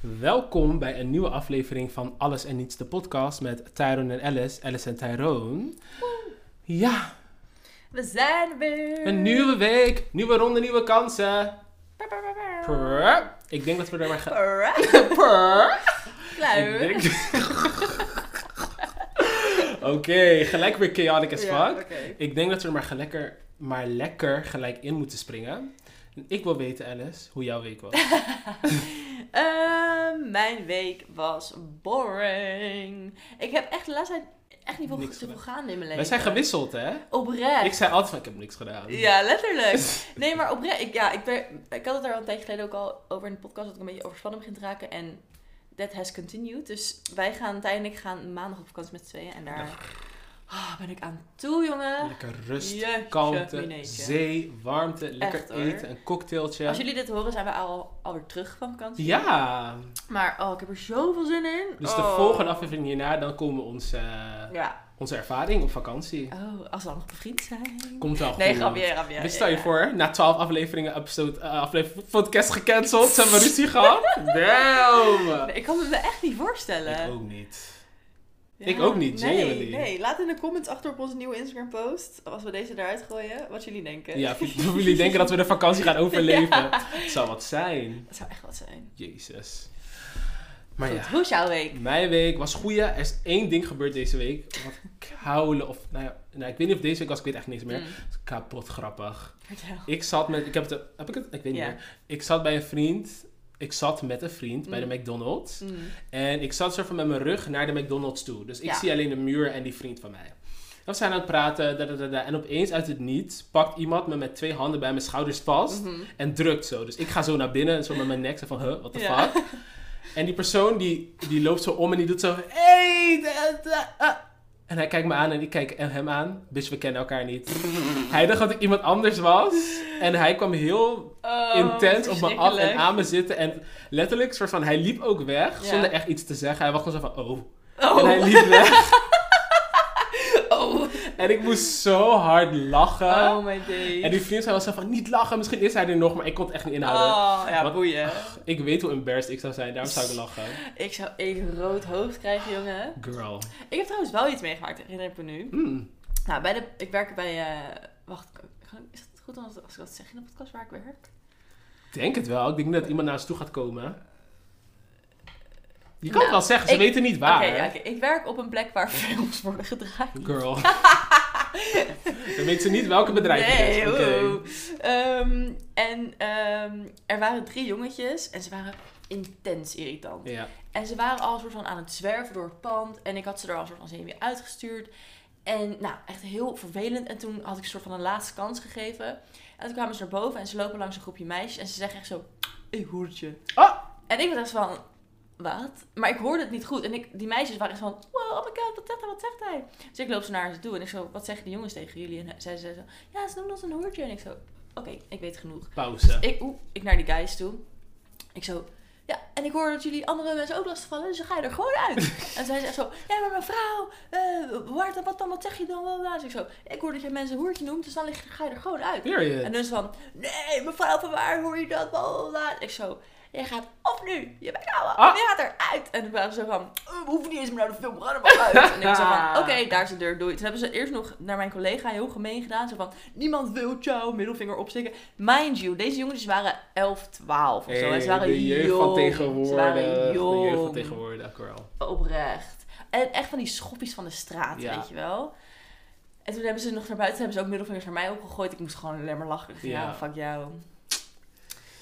Welkom bij een nieuwe aflevering van Alles en Niets, de podcast met Tyrone en Alice, Alice en Tyrone. Ja, We zijn er weer. een nieuwe week, nieuwe ronde, nieuwe kansen. Pa, pa, pa, pa. Prrr. Ik denk dat we er maar gaan... Prrr. Prrr. Ik Klaar. denk- Oké, gelijk weer chaotic as Ja, fuck. oké. Ik denk dat we er maar, lekker, maar lekker gelijk in moeten springen. En Ik wil weten, Alice, hoe jouw week was. Ehm, mijn week was boring. Ik heb echt de laatste tijd echt niet veel Niks te veel gedaan. gaan in mijn leven. Wij zijn gewisseld, hè? Ik Oprecht. zei altijd van, ik heb niks gedaan. Ja, letterlijk. Nee, maar oprecht. Ik, ja, ik, ben, ik had het er al een tijdje geleden ook al over in de podcast dat ik een beetje overspannen begin te raken. En that has continued. Dus wij gaan, Tijn en ik gaan maandag op vakantie met z'n tweeën. En daar ah, ben ik aan toe, jongen. Lekker rust, Jeetje, kalmte, mineetje. zee, warmte, lekker Echt, hoor. eten, een cocktailtje. Als jullie dit horen, zijn we al, alweer terug van vakantie. Ja, Maar oh, ik heb er zoveel zin in. dus de Oh. volgende aflevering hierna, dan komen onze, eh, Ja. onze ervaring op vakantie. Oh, als we dan nog bevriend zijn. Komt wel goed. Nee, grapje, grapje. Dus stel je ja. voor, na 12 afleveringen, episode, eh, aflevering podcast gecanceld, zijn we ruzie gehad. Damn! Nee, ik kan me dat echt niet voorstellen. eh, Ik ook niet. Ja. ik ook niet, nee, genuinely. nee, laat in de comments achter op onze nieuwe Instagram post, als we deze eruit gooien, wat jullie denken. Ja, jullie denken dat we de vakantie gaan overleven. Het zou wat zijn. Dat zou echt wat zijn. Jezus. Maar Goed, ja. hoe is jouw week? Mijn week was goeie. Er is één ding gebeurd deze week. Wat koulen of... Nou ja, nou, ik weet niet of deze week was. Ik weet echt niks meer. Mm, Kapot grappig. vertel. Ik zat met... Ik heb, het, heb ik het? Ik weet niet Ja. meer. Ik zat bij een vriend. Ik zat met een vriend bij de Mm. McDonald's. Mm. En ik zat soort van met mijn rug naar de McDonald's toe. Dus ik Ja. zie alleen de muur en die vriend van mij. En We zijn aan het praten. Da, da, da, da. En opeens uit het niets pakt iemand me met twee handen bij mijn schouders vast. Mhm. En drukt zo. Dus ik ga zo naar binnen en zo met mijn nek. Zo van, huh, what the Ja. fuck? En die persoon die, die loopt zo om en die doet zo... Hey, da, da, ah." En hij kijkt me aan en ik kijk hem aan. Bitch, we kennen elkaar niet. hij dacht dat ik iemand anders was. En hij kwam heel Oh, intens op me af en verschrikkelijk. aan me zitten. En letterlijk, soort van, hij liep ook weg. Ja. Zonder echt iets te zeggen. Hij was gewoon zo van, oh. Oh, En hij liep weg. oh. en ik moest zo hard lachen. oh my day. En die vriend zei wel zo van, niet lachen, misschien is hij er nog. Maar ik kon het echt niet inhouden. Oh, ja, Wat- Ah. boeien. Ik weet hoe embarrassed ik zou zijn, daarom zou ik lachen. Ik zou even rood hoofd krijgen, jongen. Girl. Ik heb trouwens wel iets meegemaakt, herinner ik me nu. Mm. Nou, bij de, ik werk bij... eh, wacht, kan- is het goed als, als ik dat zeg in de podcast waar ik werk? Denk het wel. Ik denk niet dat iemand naar ons toe gaat komen. Je kan Nou, het wel zeggen, ze ik- weten niet Oké, waar. ja, oké. ik werk op een plek waar films worden gedraaid. Girl. Dan weten ze niet welke bedrijf het Nee, is. Oké. oeh. Ehm, en ehm, er waren drie jongetjes en ze waren intens irritant. Ja. En ze waren al een soort van aan het zwerven door het pand. En ik had ze er al een soort van zenuw uitgestuurd. En nou, echt heel vervelend. En toen had ik een soort van een laatste kans gegeven. En toen kwamen ze naar boven en ze lopen langs een groepje meisjes. En ze zeggen echt zo, ik hoertje. Ah! En ik was echt van, wat? Maar ik hoorde het niet goed. En ik, die meisjes waren echt van, wow, oh my god, wat zegt hij, wat zegt hij? Dus ik loop ze naar ze toe en ik zo, wat zeggen die jongens tegen jullie? En zij zei zo, ja, ze noemen ons een hoertje. En ik zo, oké, ik weet genoeg. Pauze. Ik, oeh, ik naar die guys toe. Ik zo, ja, en ik hoor dat jullie andere mensen ook lastig vallen, dus dan ga je er gewoon uit. en zij zegt zo, ja, maar mevrouw, eh waar, dan- wat dan, wat zeg je dan? Blablabla. Dus ik zo, ik hoor dat jij mensen een hoertje noemt, dus dan lig- ga je er gewoon uit. En Period. dus van, nee, mevrouw, van waar hoor je dat? Blablabla. Ik zo, jij gaat of nu, je bent ouwe, Ah. of je gaat eruit. En toen waren ze zo van, "Eh, we hoeven niet eens meer naar de film, we gaan er maar uit. En ik zo van, oké, daar is de deur, doei. Toen hebben ze eerst nog naar mijn collega heel gemeen gedaan. Zo van, niemand wil jou, middelvinger opsteken. Mind you, deze jongens waren 11, 12 of zo. Hey, en ze waren de jeugd jong. van tegenwoordig. Ze waren De jeugd van jong. tegenwoordig, girl. Oprecht. En echt van die schoppies van de straat, Ja. weet je wel. En toen hebben ze nog naar buiten, hebben ze ook middelvingers naar mij opgegooid. Ik moest gewoon alleen maar lachen. Ik dacht, Ja. Ja, fuck jou.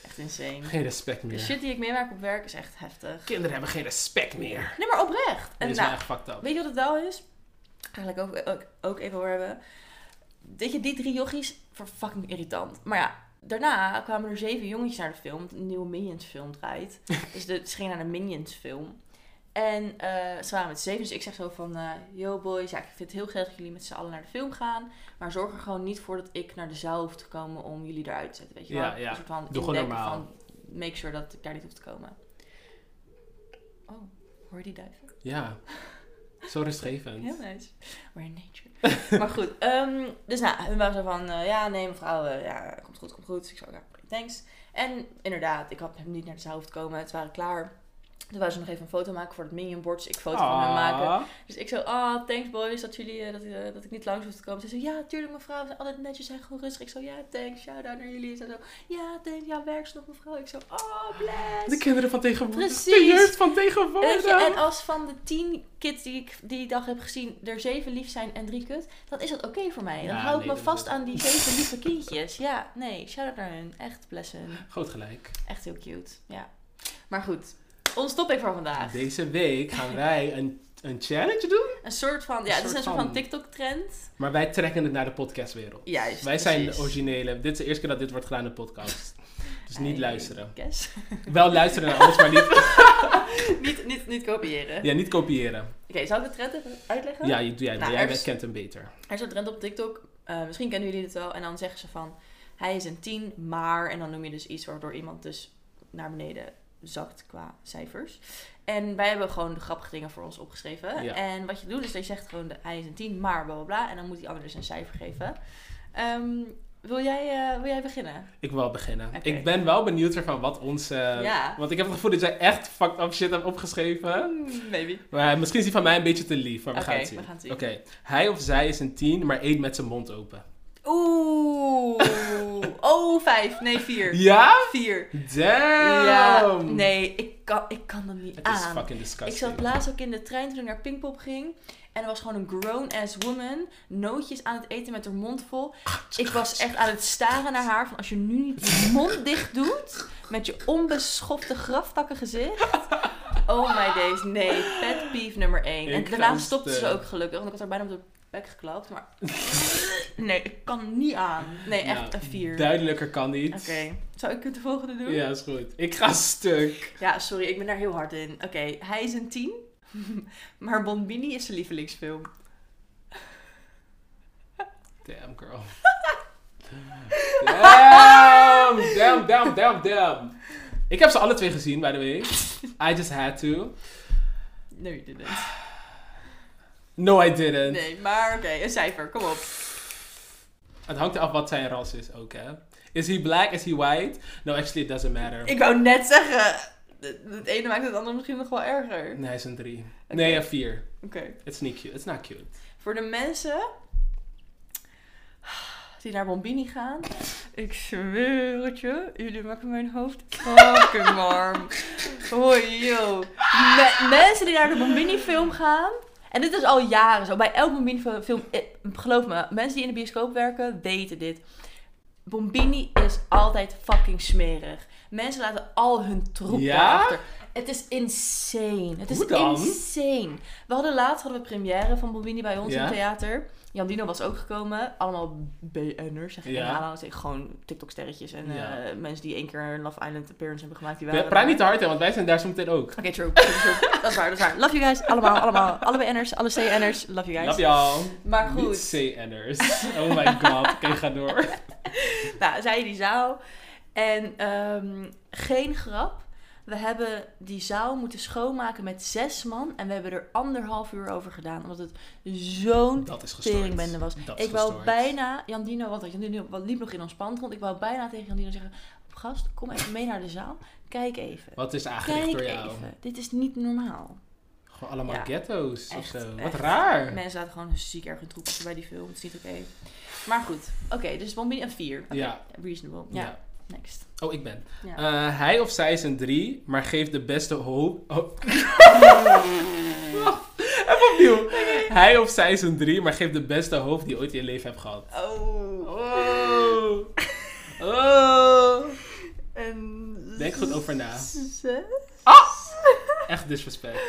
Echt insane. Geen respect De meer. shit die ik meemaak op werk is echt heftig. Kinderen hebben geen respect meer. Nee, maar oprecht. Dit En is nou nou, echt fucked up. weet je wat het wel is? Eigenlijk ook, ook, ook even over hebben. Weet je, die drie jochies, voor fucking irritant. Maar ja, daarna kwamen er zeven jongetjes naar de film. want Een nieuwe Minions film draait. dus de, ze gingen naar de Minions film. En eh, ze waren met zeven. Dus ik zeg zo van, eh, yo boys, ja, ik vind het heel gezellig dat jullie met z'n allen naar de film gaan. Maar zorg er gewoon niet voor dat ik naar de zaal hoef te komen om jullie eruit te zetten. Weet je wel? Ja, ja. Een soort van Doe gewoon indekken normaal. Van, make sure dat ik daar niet hoef te komen. Oh, hoor je die duif? Ja. Zo rustgevend. Heel nice. We're in nature. maar goed, ehm, dus nou, hun waren zo van, eh, ja, nee mevrouw, eh, ja, komt goed, komt goed. Dus ik zou ja, thanks. En inderdaad, ik had hem niet naar de zaal hoeven te komen, het waren klaar. Toen wou ze nog even een foto maken voor het Minion Board. Dus ik foto van Ah. haar maken. Dus ik zo, ah, thanks boys dat jullie, eh, dat, eh, dat ik niet langs hoef te komen. Ze zei, ja, tuurlijk mevrouw, we zijn altijd netjes en gewoon rustig. Ik zo, ja, thanks, shout-out naar jullie. Ze zo, ja, thanks, ja, werk ze nog mevrouw. Ik zo, oh, De bless. kinderen van tegenwoordig. De Precies. jeugd van Weet je, en tegenwoordig. als van de tien kids die ik die dag heb gezien er zeven lief zijn en drie kut, dan is dat oké voor mij. Dan Ja, hou ik nee, me dat vast is- aan die zeven lieve kindjes. Ja, nee, shout-out naar hun. Echt bless hun. Groot gelijk. Echt heel cute, ja. Maar goed, ons topic voor vandaag. Deze week gaan wij een, een challenge doen. Een soort van, Een ja, het is soort een soort van van- TikTok-trend. Maar wij trekken het naar de podcastwereld. Juist, Wij zijn de precies. originele. Dit is de eerste keer dat dit wordt gedaan in de podcast. Dus niet I luisteren. guess. Wel luisteren naar alles, maar niet, niet, niet, niet kopiëren. ja, niet kopiëren. Oké, zal ik de trend even uitleggen? Ja, je- doe jij, Nou, jij er bent, is- kent hem beter. Er is een trend op TikTok, eh, misschien kennen jullie dit wel. En dan zeggen ze van, hij is een 10, maar... En dan noem je dus iets waardoor iemand dus naar beneden zakt qua cijfers. En wij hebben gewoon de grappige dingen voor ons opgeschreven. Ja. En wat je doet is dat je zegt gewoon, de, hij is een 10, maar bla bla bla. En dan moet die ander dus een cijfer geven. Ehm, wil, jij, eh, wil jij beginnen? Ik wil beginnen. Oké. Ik ben wel benieuwd van wat onze... Ja. Want ik heb het gevoel dat jij echt fucked up shit hebt opgeschreven. Mm, Maybe. Maar misschien is die van mij een beetje te lief, maar we Oké, gaan het zien. we gaan het zien. Oké, hij of zij is een tien, maar één met zijn mond open. Oeh. Oh, vijf. Nee, vier. Ja? Vier. Damn! Ja, nee, ik kan, ik kan dat niet Het is aan. fucking Ik disgusting. zat laatst ook in de trein toen ik naar Pinkpop ging. En er was gewoon een grown-ass woman. Nootjes aan het eten met haar mond vol. Ik was echt aan het staren naar haar. Van als je nu niet je mond dicht doet. Met je onbeschofte graftakken gezicht. Oh my days. Nee, pet peeve nummer 1. En Ik daarna ga stopte ze stuk. ook gelukkig. Want ik had haar bijna op de bek geklapt. Maar nee, ik kan er niet aan. Nee, echt Nou, een 4. Oké. Duidelijker kan niet. Zou ik het de volgende doen? Ja, is goed. Ik ga stuk. Ja, sorry, ik ben daar heel hard in. Oké, hij is een 10, maar Bombini is zijn lievelingsfilm. Damn, girl. Damn, damn, damn, damn, damn. Ik heb ze alle twee gezien, by the way. I just had to. No, you didn't. No, I didn't. Nee, maar oké, een cijfer, kom op. Het hangt af wat zijn ras is ook, hè. Is he black? Is he white? No, actually, it doesn't matter. Ik wou net zeggen, het het ene maakt het andere misschien nog wel erger. Oké, Nee, hij is een drie. Nee, een vier. oké. It's niet cute. It's not cute. voor de mensen die naar Bombini gaan, ik zweer het je, jullie maken mijn hoofd fucking warm. Hoi, yo. Me- mensen die naar de Bombini-film gaan. En dit is al jaren zo. Bij elk Bombini-film, eh, geloof me, mensen die in de bioscoop werken weten dit. Bombini is altijd fucking smerig. Mensen laten al hun troep Ja? daarachter. Het is insane. Het is Hoe dan? insane. We hadden laatst hadden we première van Bombini bij ons in Ja? het theater. Jan Dino was ook gekomen. Allemaal BN'ers, zeg ik Ja. in aanhalingstekens. Gewoon TikTok-sterretjes en eh, Ja. mensen die één keer een Love Island appearance hebben gemaakt. Die Ja, waren praat daar. niet te hard, hè, want wij zijn daar zo meteen ook. Oké, true. true, true. dat is waar, dat is waar. Love you guys. Allemaal, allemaal. Alle BN'ers, alle CN'ers. Love you guys. Love y'all. Maar goed. Niet CN'ers. Oh my god. Oké, ga door. Nou, zij die zaal. En ehm, geen grap. We hebben die zaal moeten schoonmaken met zes man. En we hebben er anderhalf uur over gedaan. Omdat het zo'n Dat is gestoord. teringbende was. Dat is ik wou gestoord. bijna Jandino, want Jandino liep nog in ons pand rond. Ik wou bijna tegen Jandino zeggen: Gast, kom even mee naar de zaal. Kijk even. Wat is aangericht Kijk door jou? even. Dit is niet normaal. Gewoon allemaal Ja. ghetto's of Echt, zo. eh, Wat echt. raar. Mensen laten gewoon ziek erg hun troep achter bij die film. Het is niet oké. Maar goed. Oké, dus Bombini een 4. Ja. Reasonable. Ja, Ja. next. Oh, ik ben. Ja. Eh, hij of zij is een drie, maar geeft de beste hoop... Oh. Even opnieuw. Hij of zij is een drie, maar geeft de beste hoop die je ooit in je leven hebt gehad. Oh. Oh. Oh. En Denk goed over na. Ah! zes? Echt disrespect.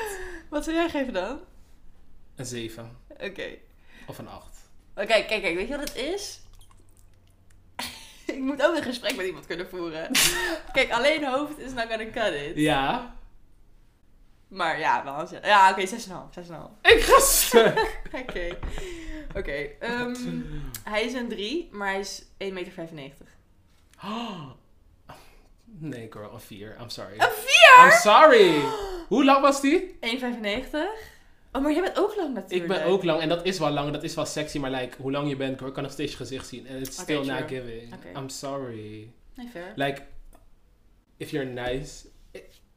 Wat zou jij geven dan? Een zeven. Oké. Of een acht. Maar Kijk, kijk, kijk. Weet je wat het is? ik moet ook een gesprek met iemand kunnen voeren. kijk, alleen hoofd is not gonna cut it. Ja. Maar ja, wel een zes. Ja, oké, 6,5. 6,5. Ik ga stuk. Oké. Oké. ehm, hij is een 3, maar hij is 1,95 meter. Nee, girl, een 4. I'm sorry. Een I'm 4? sorry. Hoe lang was die? 1,95? Oh, maar jij bent ook lang natuurlijk. Ik ben ook lang en dat is wel lang en dat is wel sexy, maar like, hoe lang je bent, girl, ik kan nog steeds je gezicht zien. En it's Oké, still sure. not giving. Oké. I'm sorry. Nee, fair. Like, if you're nice.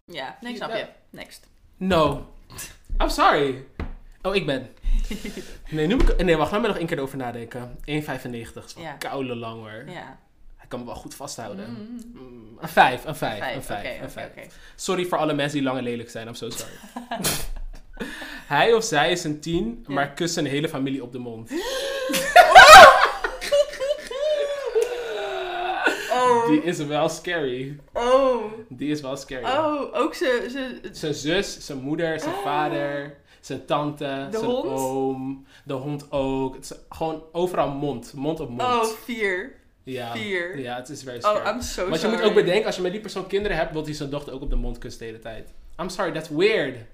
Ja, nee, ik snap Ja. je. Next. No. I'm sorry. Oh, ik ben. Nee, nu moet ik... Nee, wacht. Laat me nog één keer erover nadenken. 1,95. Dat is wel Ja. koude lang hoor. Ja. Hij kan me wel goed vasthouden. Mm. Mm, Een 5, een 5, een Vijf, 5, oké, een oké, 5. oké. Sorry voor alle mensen die lang en lelijk zijn. I'm so sorry. Hij of zij is een 10, Ja. maar kust zijn hele familie op de mond. Oh, Die is wel scary. oh, Die is wel scary. oh, ook ze, ze, Zijn zus, zijn moeder, zijn Ah. vader, zijn tante, De zijn hond? oom, de hond ook. Het is gewoon overal mond, mond op mond. oh, vier. ja. vier. ja, het is very scary. Oh, I'm so maar je sorry. moet ook bedenken, als je met die persoon kinderen hebt, wil hij zijn dochter ook op de mond kussen de hele tijd. I'm sorry, that's weird. Ik-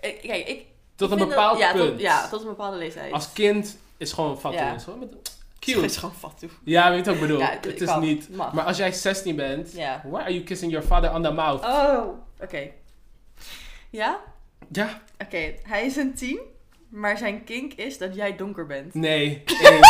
Eh, Kijk, ik Tot ik een vind bepaald dat, ja, punt. Tot, ja, tot een bepaalde leeftijd. Als kind is gewoon fucking. Ja. is gewoon met- Het Cute. is gewoon fatsoen. Ja, weet je wat ik bedoel? Ja, het is kan, niet. mag. Maar als jij 16 bent, Ja. why are you kissing your father on the mouth? Oh, oké. Ja? Ja, Oké, hij is een 10, maar zijn kink is dat jij donker bent. nee. Eén.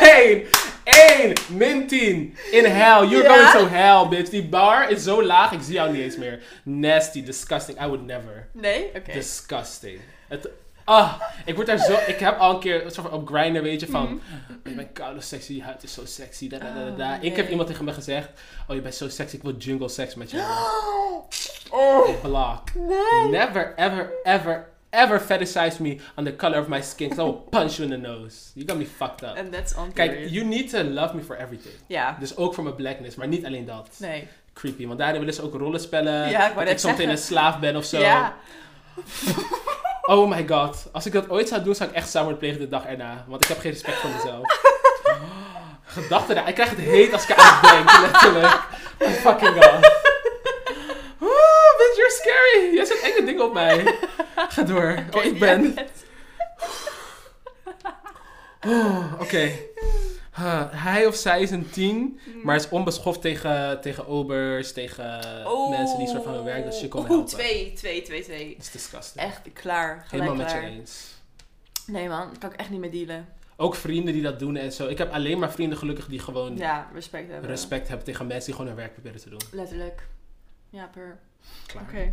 Eén. Eén. Min 10. In hell. You're Ja? going to hell, bitch. Die bar is zo laag, ik zie jou niet eens meer. Nasty, disgusting. I would never. Nee? Oké. Dus- Disgusting. Het, ah, ik word daar zo... Ik heb al een keer een soort van op grinder, weet je, van... "Oh, Mijn koude sexy, je huid is zo sexy, da, da, da, da, da." Mhm. Oh, Ik heb nee. iemand tegen me gezegd... Oh, je bent zo sexy, ik wil jungle seks met je hebben." Oh, Block. nee. Never, ever, ever, ever fetishize me on the color of my skin. Because I will punch you in the nose. You got me fucked up. And that's on Kijk, period. you need to love me for everything. Ja. Dus ook voor mijn blackness, maar niet alleen dat. Nee. Creepy, want daarin willen ze ook rollenspellen. Ja, ik wou dat ik net soms in een zeggen. slaaf ben of zo. Ja. Oh my god. Als ik dat ooit zou doen, zou ik echt zelfmoord plegen de dag erna. Want ik heb geen respect voor mezelf. Gedachten daar. Ik krijg het heet als ik aan denk, letterlijk. Oh fucking god. Oh, bitch, you're scary. Jij zet enge dingen op mij. Ga door. Oh, ik ben... Oh, Oké. Huh, hij of zij is een tien, Hmm. maar is onbeschoft tegen, tegen obers, tegen Oh. mensen die soort van hun werk dat shit komen Oeh, helpen. Oh, twee, twee, twee, twee. Dat is disgusting. Echt klaar. Gelijk Helemaal met je klaar. eens. Nee man, daar kan ik echt niet mee dealen. Ook vrienden die dat doen en zo. Ik heb alleen maar vrienden gelukkig die gewoon Ja, respect hebben. respect hebben tegen mensen die gewoon hun werk proberen te doen. Letterlijk. Ja, per. Klaar. Oké.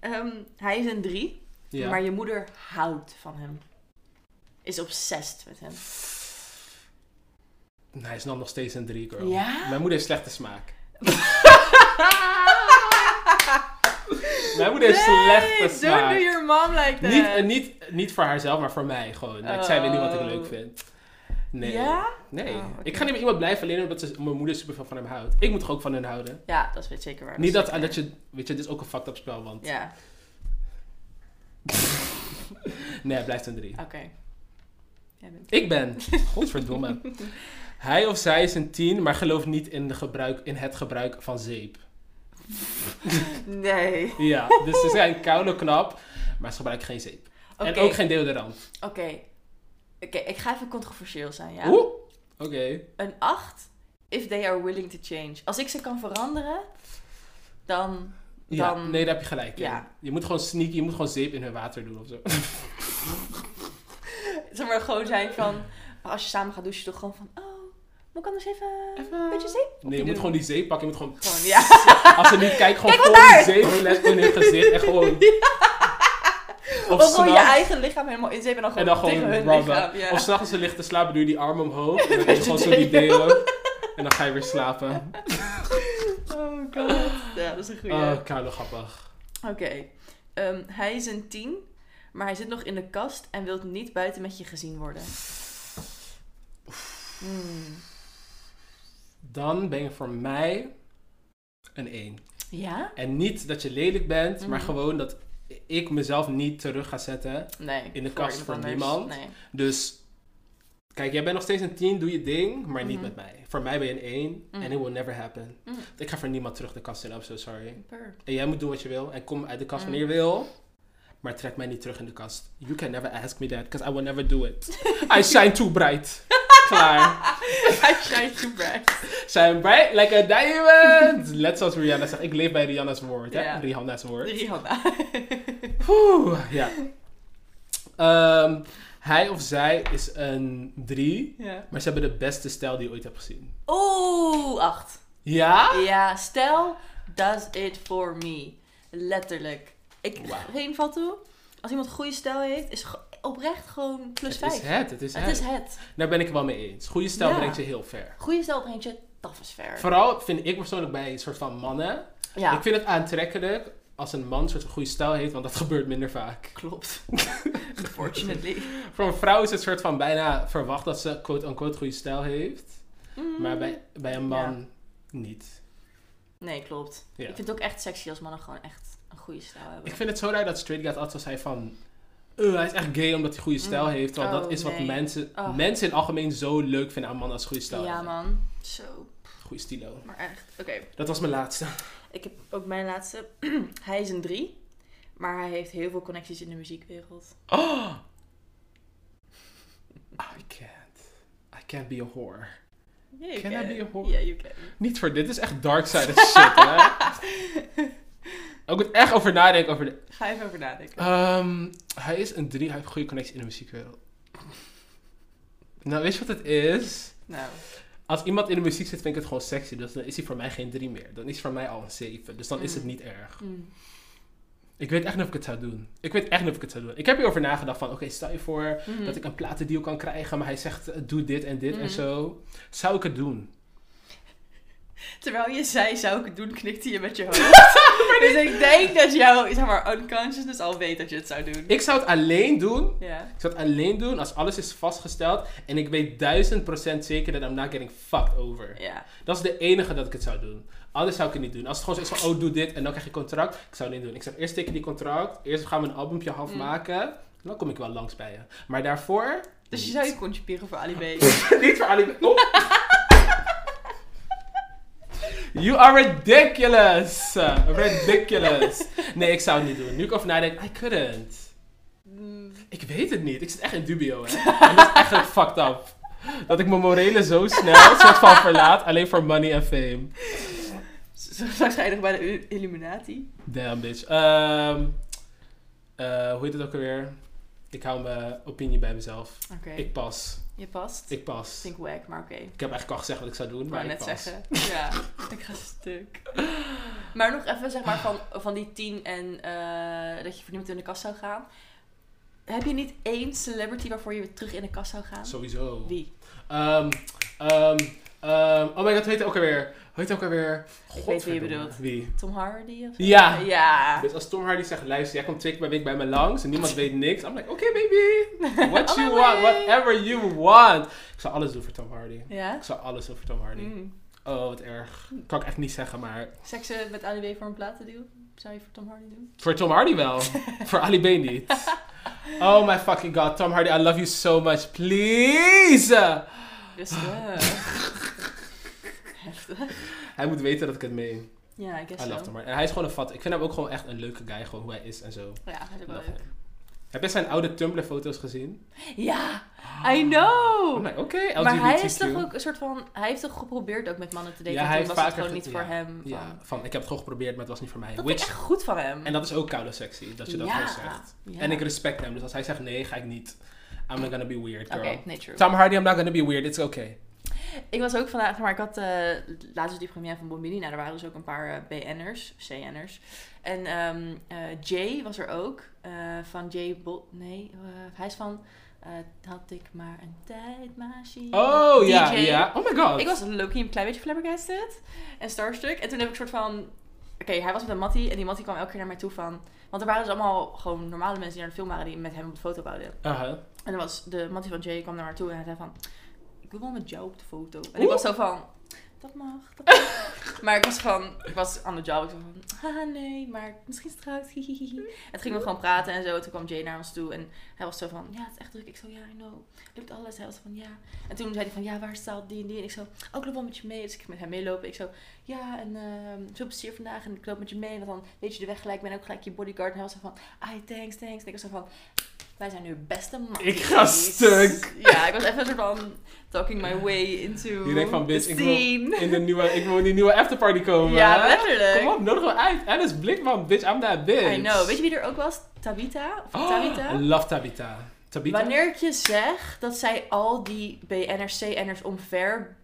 Ehm, hij is een 3, Ja. maar je moeder houdt van hem. Is obsessed met hem. Nee, Hij is dan nog steeds een drie, girl. Ja? Mijn moeder heeft slechte smaak. Mijn moeder heeft slechte don't smaak. do your mom like that. Niet, eh, niet, niet voor haarzelf, maar voor mij gewoon. Ik zei weet niet wat ik Oh. leuk vind. Nee. Ja? Nee. Oh, oké. Ik ga niet met iemand blijven alleen omdat ze, mijn moeder super veel van hem houdt. Ik moet toch ook van hen houden. Ja, dat weet zeker waar. niet dat, zeker. dat je, weet je, dit is ook een fucked up spel, want Ja, nee, het blijft een drie. oké. Jij bent- Ik ben. Godverdomme. Hij of zij is een tien, maar gelooft niet in, de gebruik, in het gebruik van zeep. Nee. Oké. Ja, dus ze zijn koude knap, maar ze gebruiken geen zeep. En ook geen deodorant. Oké. Oké, ik ga even controversieel zijn, ja? Oeh. Oké. Een 8, if they are willing to change. Als ik ze kan veranderen, dan... Ja, dan... nee, daar heb je gelijk in. Ja. Je moet gewoon sneaky, je moet gewoon zeep in hun water doen of zo. Zeg maar gewoon zijn van... Als je samen gaat douchen, toch gewoon van... Oh, moet ik anders even, een beetje zeep? Nee, je moet doen. gewoon die zeep pakken. Je moet gewoon... Gewoon, ja. Als ze niet kijkt, gewoon Kijk wat vol daar! zeep let in hun gezicht. En gewoon... Of, Of gewoon je s'nachts- eigen lichaam helemaal in zeep en dan En gewoon, dan gewoon tegen hun lichaam. rubben. Ja. Of s'nachts als ze ligt te slapen, doe je die arm omhoog. En dan doe je je gewoon zo die deo. delen. En dan ga je weer slapen. Oh god. Ja, dat is een goeie. Oh, koude grappig. Oké. Ehm, hij is een 10, maar hij zit nog in de kast en wil niet buiten met je gezien worden. Hmm. Dan ben je voor mij een 1. Ja? En niet dat je lelijk bent, maar Mhm. gewoon dat ik mezelf niet terug ga zetten. Nee. In de voor kast iemand voor anders. niemand. Nee. Dus kijk, jij bent nog steeds een 10, doe je ding, maar niet Mhm. met mij. Voor mij ben je een 1 en Mm. it will never happen. Mm. Ik ga voor niemand terug de kast in, I'm so sorry. Per. En jij moet doen wat je wil en kom uit de kast Mm. wanneer je wil. Maar trek mij niet terug in de kast. You can never ask me that, because I will never do it. I shine too bright. Klaar. Hij schijnt je bright. Shine bright like a diamond. Net zoals Rihanna zegt. Ik leef bij Rihanna's woord. Hè? Ja. Rihanna's woord. Rihanna. Oeh, ja. Ehm, hij of zij is een 3, ja. maar ze hebben de beste stijl die je ooit hebt gezien. Oeh, 8. Ja? Ah. Ja, stel, does it for me. Letterlijk. Ik Wauw. geen van toe. Als iemand een goede stijl heeft, is ge- oprecht gewoon plus het 5. is het, het is het het. is het. Daar ben ik het wel mee eens. Goede stijl Ja. brengt je heel ver. Goede stijl brengt je taf is ver. Vooral vind ik persoonlijk bij een soort van mannen. ja, Ik vind het aantrekkelijk als een man een soort van goede stijl heeft, want dat gebeurt minder vaak. klopt. Unfortunately. Voor een vrouw is het soort van bijna verwacht dat ze quote-unquote goede stijl heeft. Mm. Maar bij, bij een man niet. Nee, klopt. Ja. Ik vind het ook echt sexy als mannen gewoon echt een goede stijl hebben. Ik vind het zo raar dat Straight Guy altijd zei van... "Eh, hij is echt gay omdat hij goede stijl Mm. heeft. Want Oh, dat is wat nee. mensen, Oh. mensen in het algemeen zo leuk vinden aan mannen als goede stijl. ja, hebben. man. Zo, Goede stilo. maar echt. Oké, Dat was mijn laatste. ik heb ook mijn laatste. hij is een 3, maar hij heeft heel veel connecties in de muziekwereld. Oh! I can't. I can't be a whore. Yeah, you Can I be a whore? Ja, you can. Niet voor dit, dit is echt dark side shit, hè? Ik moet echt over nadenken over de... Ga even over nadenken. Ehm, hij is een drie, hij heeft goede connectie in de muziekwereld. Nou, weet je wat het is? Nou, Als iemand in de muziek zit, vind ik het gewoon sexy. Dus dan is hij voor mij geen drie meer. Dan is hij voor mij al een zeven. Dus dan is het Mm. niet erg. mm, Ik weet echt niet of ik het zou doen. Ik weet echt niet of ik het zou doen. Ik heb hierover nagedacht van, oké, stel je voor... mhm. dat ik een platendeal kan krijgen, maar hij zegt eh, doe dit en dit en Mhm. zo. Zou ik het doen? Terwijl je zei, zou ik het doen, knikte je met je hoofd. dus ik denk dat jouw zeg maar, unconsciousness al weet dat je het zou doen. Ik zou het alleen doen. Ja. Ik zou het alleen doen als alles is vastgesteld en ik weet duizend procent zeker dat I'm not getting fucked over. Ja. Dat is de enige dat ik het zou doen. Anders zou ik het niet doen. Als het gewoon zo is van, oh doe dit en dan krijg je contract. Ik zou het niet doen. Ik zeg eerst teken die contract, eerst gaan we een albumpje half Mm. maken. Dan kom ik wel langs bij je. Maar daarvoor... Dus je niet. zou je kontje pieren voor Ali B. niet voor Ali. Oh. You are ridiculous. Ridiculous. Nee, ik zou het niet doen. Nu ik over nadenk, I couldn't. Mm, Ik weet het niet. Ik zit echt in dubio, hè. En dat is echt fucked up. Dat ik mijn morelen zo snel soort van verlaat, alleen voor money en fame. Zo straks eindigen bij de Il- Illuminati. Damn, bitch. Ehm, eh, hoe heet het ook alweer? Ik hou mijn opinie bij mezelf. Oké, Ik pas. je past. Ik Ik pas. vind ik wack, maar oké. Ik heb eigenlijk al gezegd wat ik zou doen, Ik maar wou ik net pas. zeggen. Ja, ik ga stuk. Maar nog even zeg maar van, van die tien en eh, dat je voor niemand in de kast zou gaan. Heb je niet één celebrity waarvoor je weer terug in de kast zou gaan? Sowieso. Wie? Ehm, ehm, ehm, oh my god, hoe heet het ook alweer? Hoe heet het ook alweer? Ik weet wie je Godverdomme. bedoelt. Wie? Tom Hardy of zo? Ja. Ja. Dus als Tom Hardy zegt, luister, jij komt twee keer per week bij me langs en niemand weet niks. I'm like, oké baby, what On you Oh my want, way. whatever you want. Ik zou alles doen voor Tom Hardy. Ja? Ik zou alles doen voor Tom Hardy. Mm. Oh, wat erg. Kan ik echt niet zeggen, maar Seksen met Ali B voor een platendeal? Zou je voor Tom Hardy doen? voor Tom Hardy wel. voor Ali B niet. Oh my fucking god, Tom Hardy, I love you so much. Please! Rustig. Heftig. Hij moet weten dat ik het meen. Ja, ik guess I zo. love Tom Hardy. En hij is gewoon een vat. Ik vind hem ook gewoon echt een leuke guy, gewoon hoe hij is en zo. Ja, dat is ook wel Love leuk. him. Heb je zijn oude Tumblr-foto's gezien? Ja, I know! Oh, nee, oké, maar hij LGBTQ. is toch ook een soort van... Hij heeft toch geprobeerd ook met mannen te daten? Ja, en hij toen heeft was het vaker gewoon niet ge- voor ja, hem. Van. Ja, van ik heb het gewoon geprobeerd, maar het was niet voor mij. Dat Which, vind ik echt goed van hem. En dat is ook koude sexy, dat je dat Ja. gewoon zegt. Ja. En ik respect hem, dus als hij zegt nee, ga ik niet. I'm not gonna be weird, Oké, girl. nee, true. Tom Hardy, I'm not gonna be weird, it's okay. Ik was ook vandaag, maar ik had eh, laatst dus die première van Bombini. Nou, er waren dus ook een paar eh, BN'ers, CN'ers. En ehm, eh, Jay was er ook. eh, van Jay Bol... Nee, eh, hij is van... eh, had ik maar een tijdmachine. Oh, ja, DJ. ja. Oh my god. Ik was Loki een klein beetje flabbergasted. En Starstruck. En toen heb ik soort van... Oké, hij was met een mattie. En die mattie kwam elke keer naar mij toe van... Want er waren dus allemaal gewoon normale mensen die naar de film waren... die met hem op de foto wouden. Uh-huh. En dan was de mattie van Jay kwam naar me toe en hij zei van... Ik wil wel met jou op de foto. En ik Oeh. was zo van... Dat mag, dat mag. maar ik was van... Ik was aan de job. Ik was van... Haha, nee, maar misschien straks. hihihihi." En toen gingen we gewoon praten en zo. Toen kwam Jay naar ons toe en hij was zo van... Ja, het is echt druk. Ik zo... Ja, I know. Lukt alles? Hij was van... Ja. En toen zei hij van... Ja, waar staat die en die? En ik zo... Oh, ik loop wel met je mee. Dus ik ging met hem meelopen. Ik zo... Ja, en ehm veel plezier vandaag. En ik loop met je mee. Want dan weet je de weg gelijk. Ik ben ook gelijk je bodyguard. En hij was zo van... Ai, thanks, thanks. En ik was zo van... Wij zijn nu beste man. Ik ga stuk. Ja, ik was even een soort van talking my way into Je denkt van, bitch, the ik wil scene. In de nieuwe, ik wil in die nieuwe afterparty komen. Ja, hè? letterlijk. Kom op, nodig me uit. Alice Blikman, bitch, I'm that bitch. I know. Weet je wie er ook was? Tabita? Of Oh, Tabita? I love Tabita. Tabita? Wanneer ik je zeg dat zij al die BN'ers, CN'ers omver,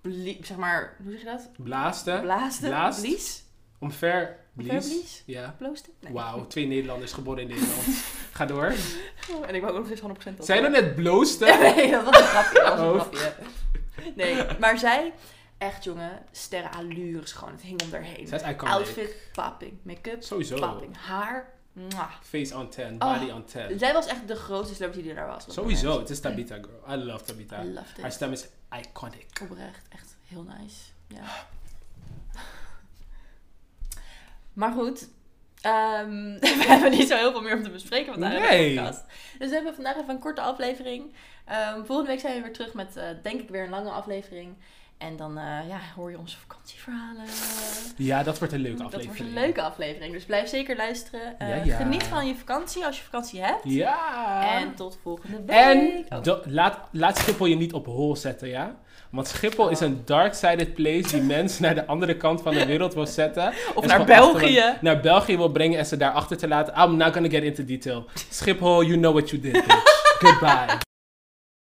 blie- zeg maar, hoe zeg je dat? Blaaste. Blaasde? Blaast. Blies? Omver. Blies. Verblies? Ja. Bloosten? Nee. Wauw, twee Nederlanders geboren in Nederland. Ga door. Oh, en ik wou ook nog steeds 100% dat. Zij doen net bloosten. Nee, dat was een grapje. Dat was een Oh. grapje. Nee, maar zij, echt jongen, sterren allures gewoon. Het hing om daarheen. Zij is iconic. Outfit, popping. Make-up, Sowieso. popping. Haar, mwah. Face on 10, Oh. body on 10. Zij was echt de grootste celebrity die er was. wat Sowieso, mij het is Tabita girl. I love Tabita. betreft. I loved it. Haar stem is iconic. Oprecht, echt heel nice. Ja. Maar goed, ehm, we hebben niet zo heel veel meer om te bespreken vandaag in Nee. de podcast. Dus we hebben vandaag even een korte aflevering. Ehm, volgende week zijn we weer terug met, eh, denk ik, weer een lange aflevering. En dan eh, ja, hoor je onze vakantieverhalen. Ja, dat wordt een leuke Dat aflevering. wordt een leuke aflevering, dus blijf zeker luisteren. Eh, Ja, ja. Geniet van je vakantie als je vakantie hebt. Ja. En tot volgende week. En Oh. do- laat, laat Schiphol je niet op hol zetten, ja? Want Schiphol Oh. is een dark-sided place die mensen naar de andere kant van de wereld wil zetten. Of En naar ze van achteren- België. naar België wil brengen en ze daar achter te laten. I'm not gonna get into detail. Schiphol, you know what you did, bitch. Goodbye.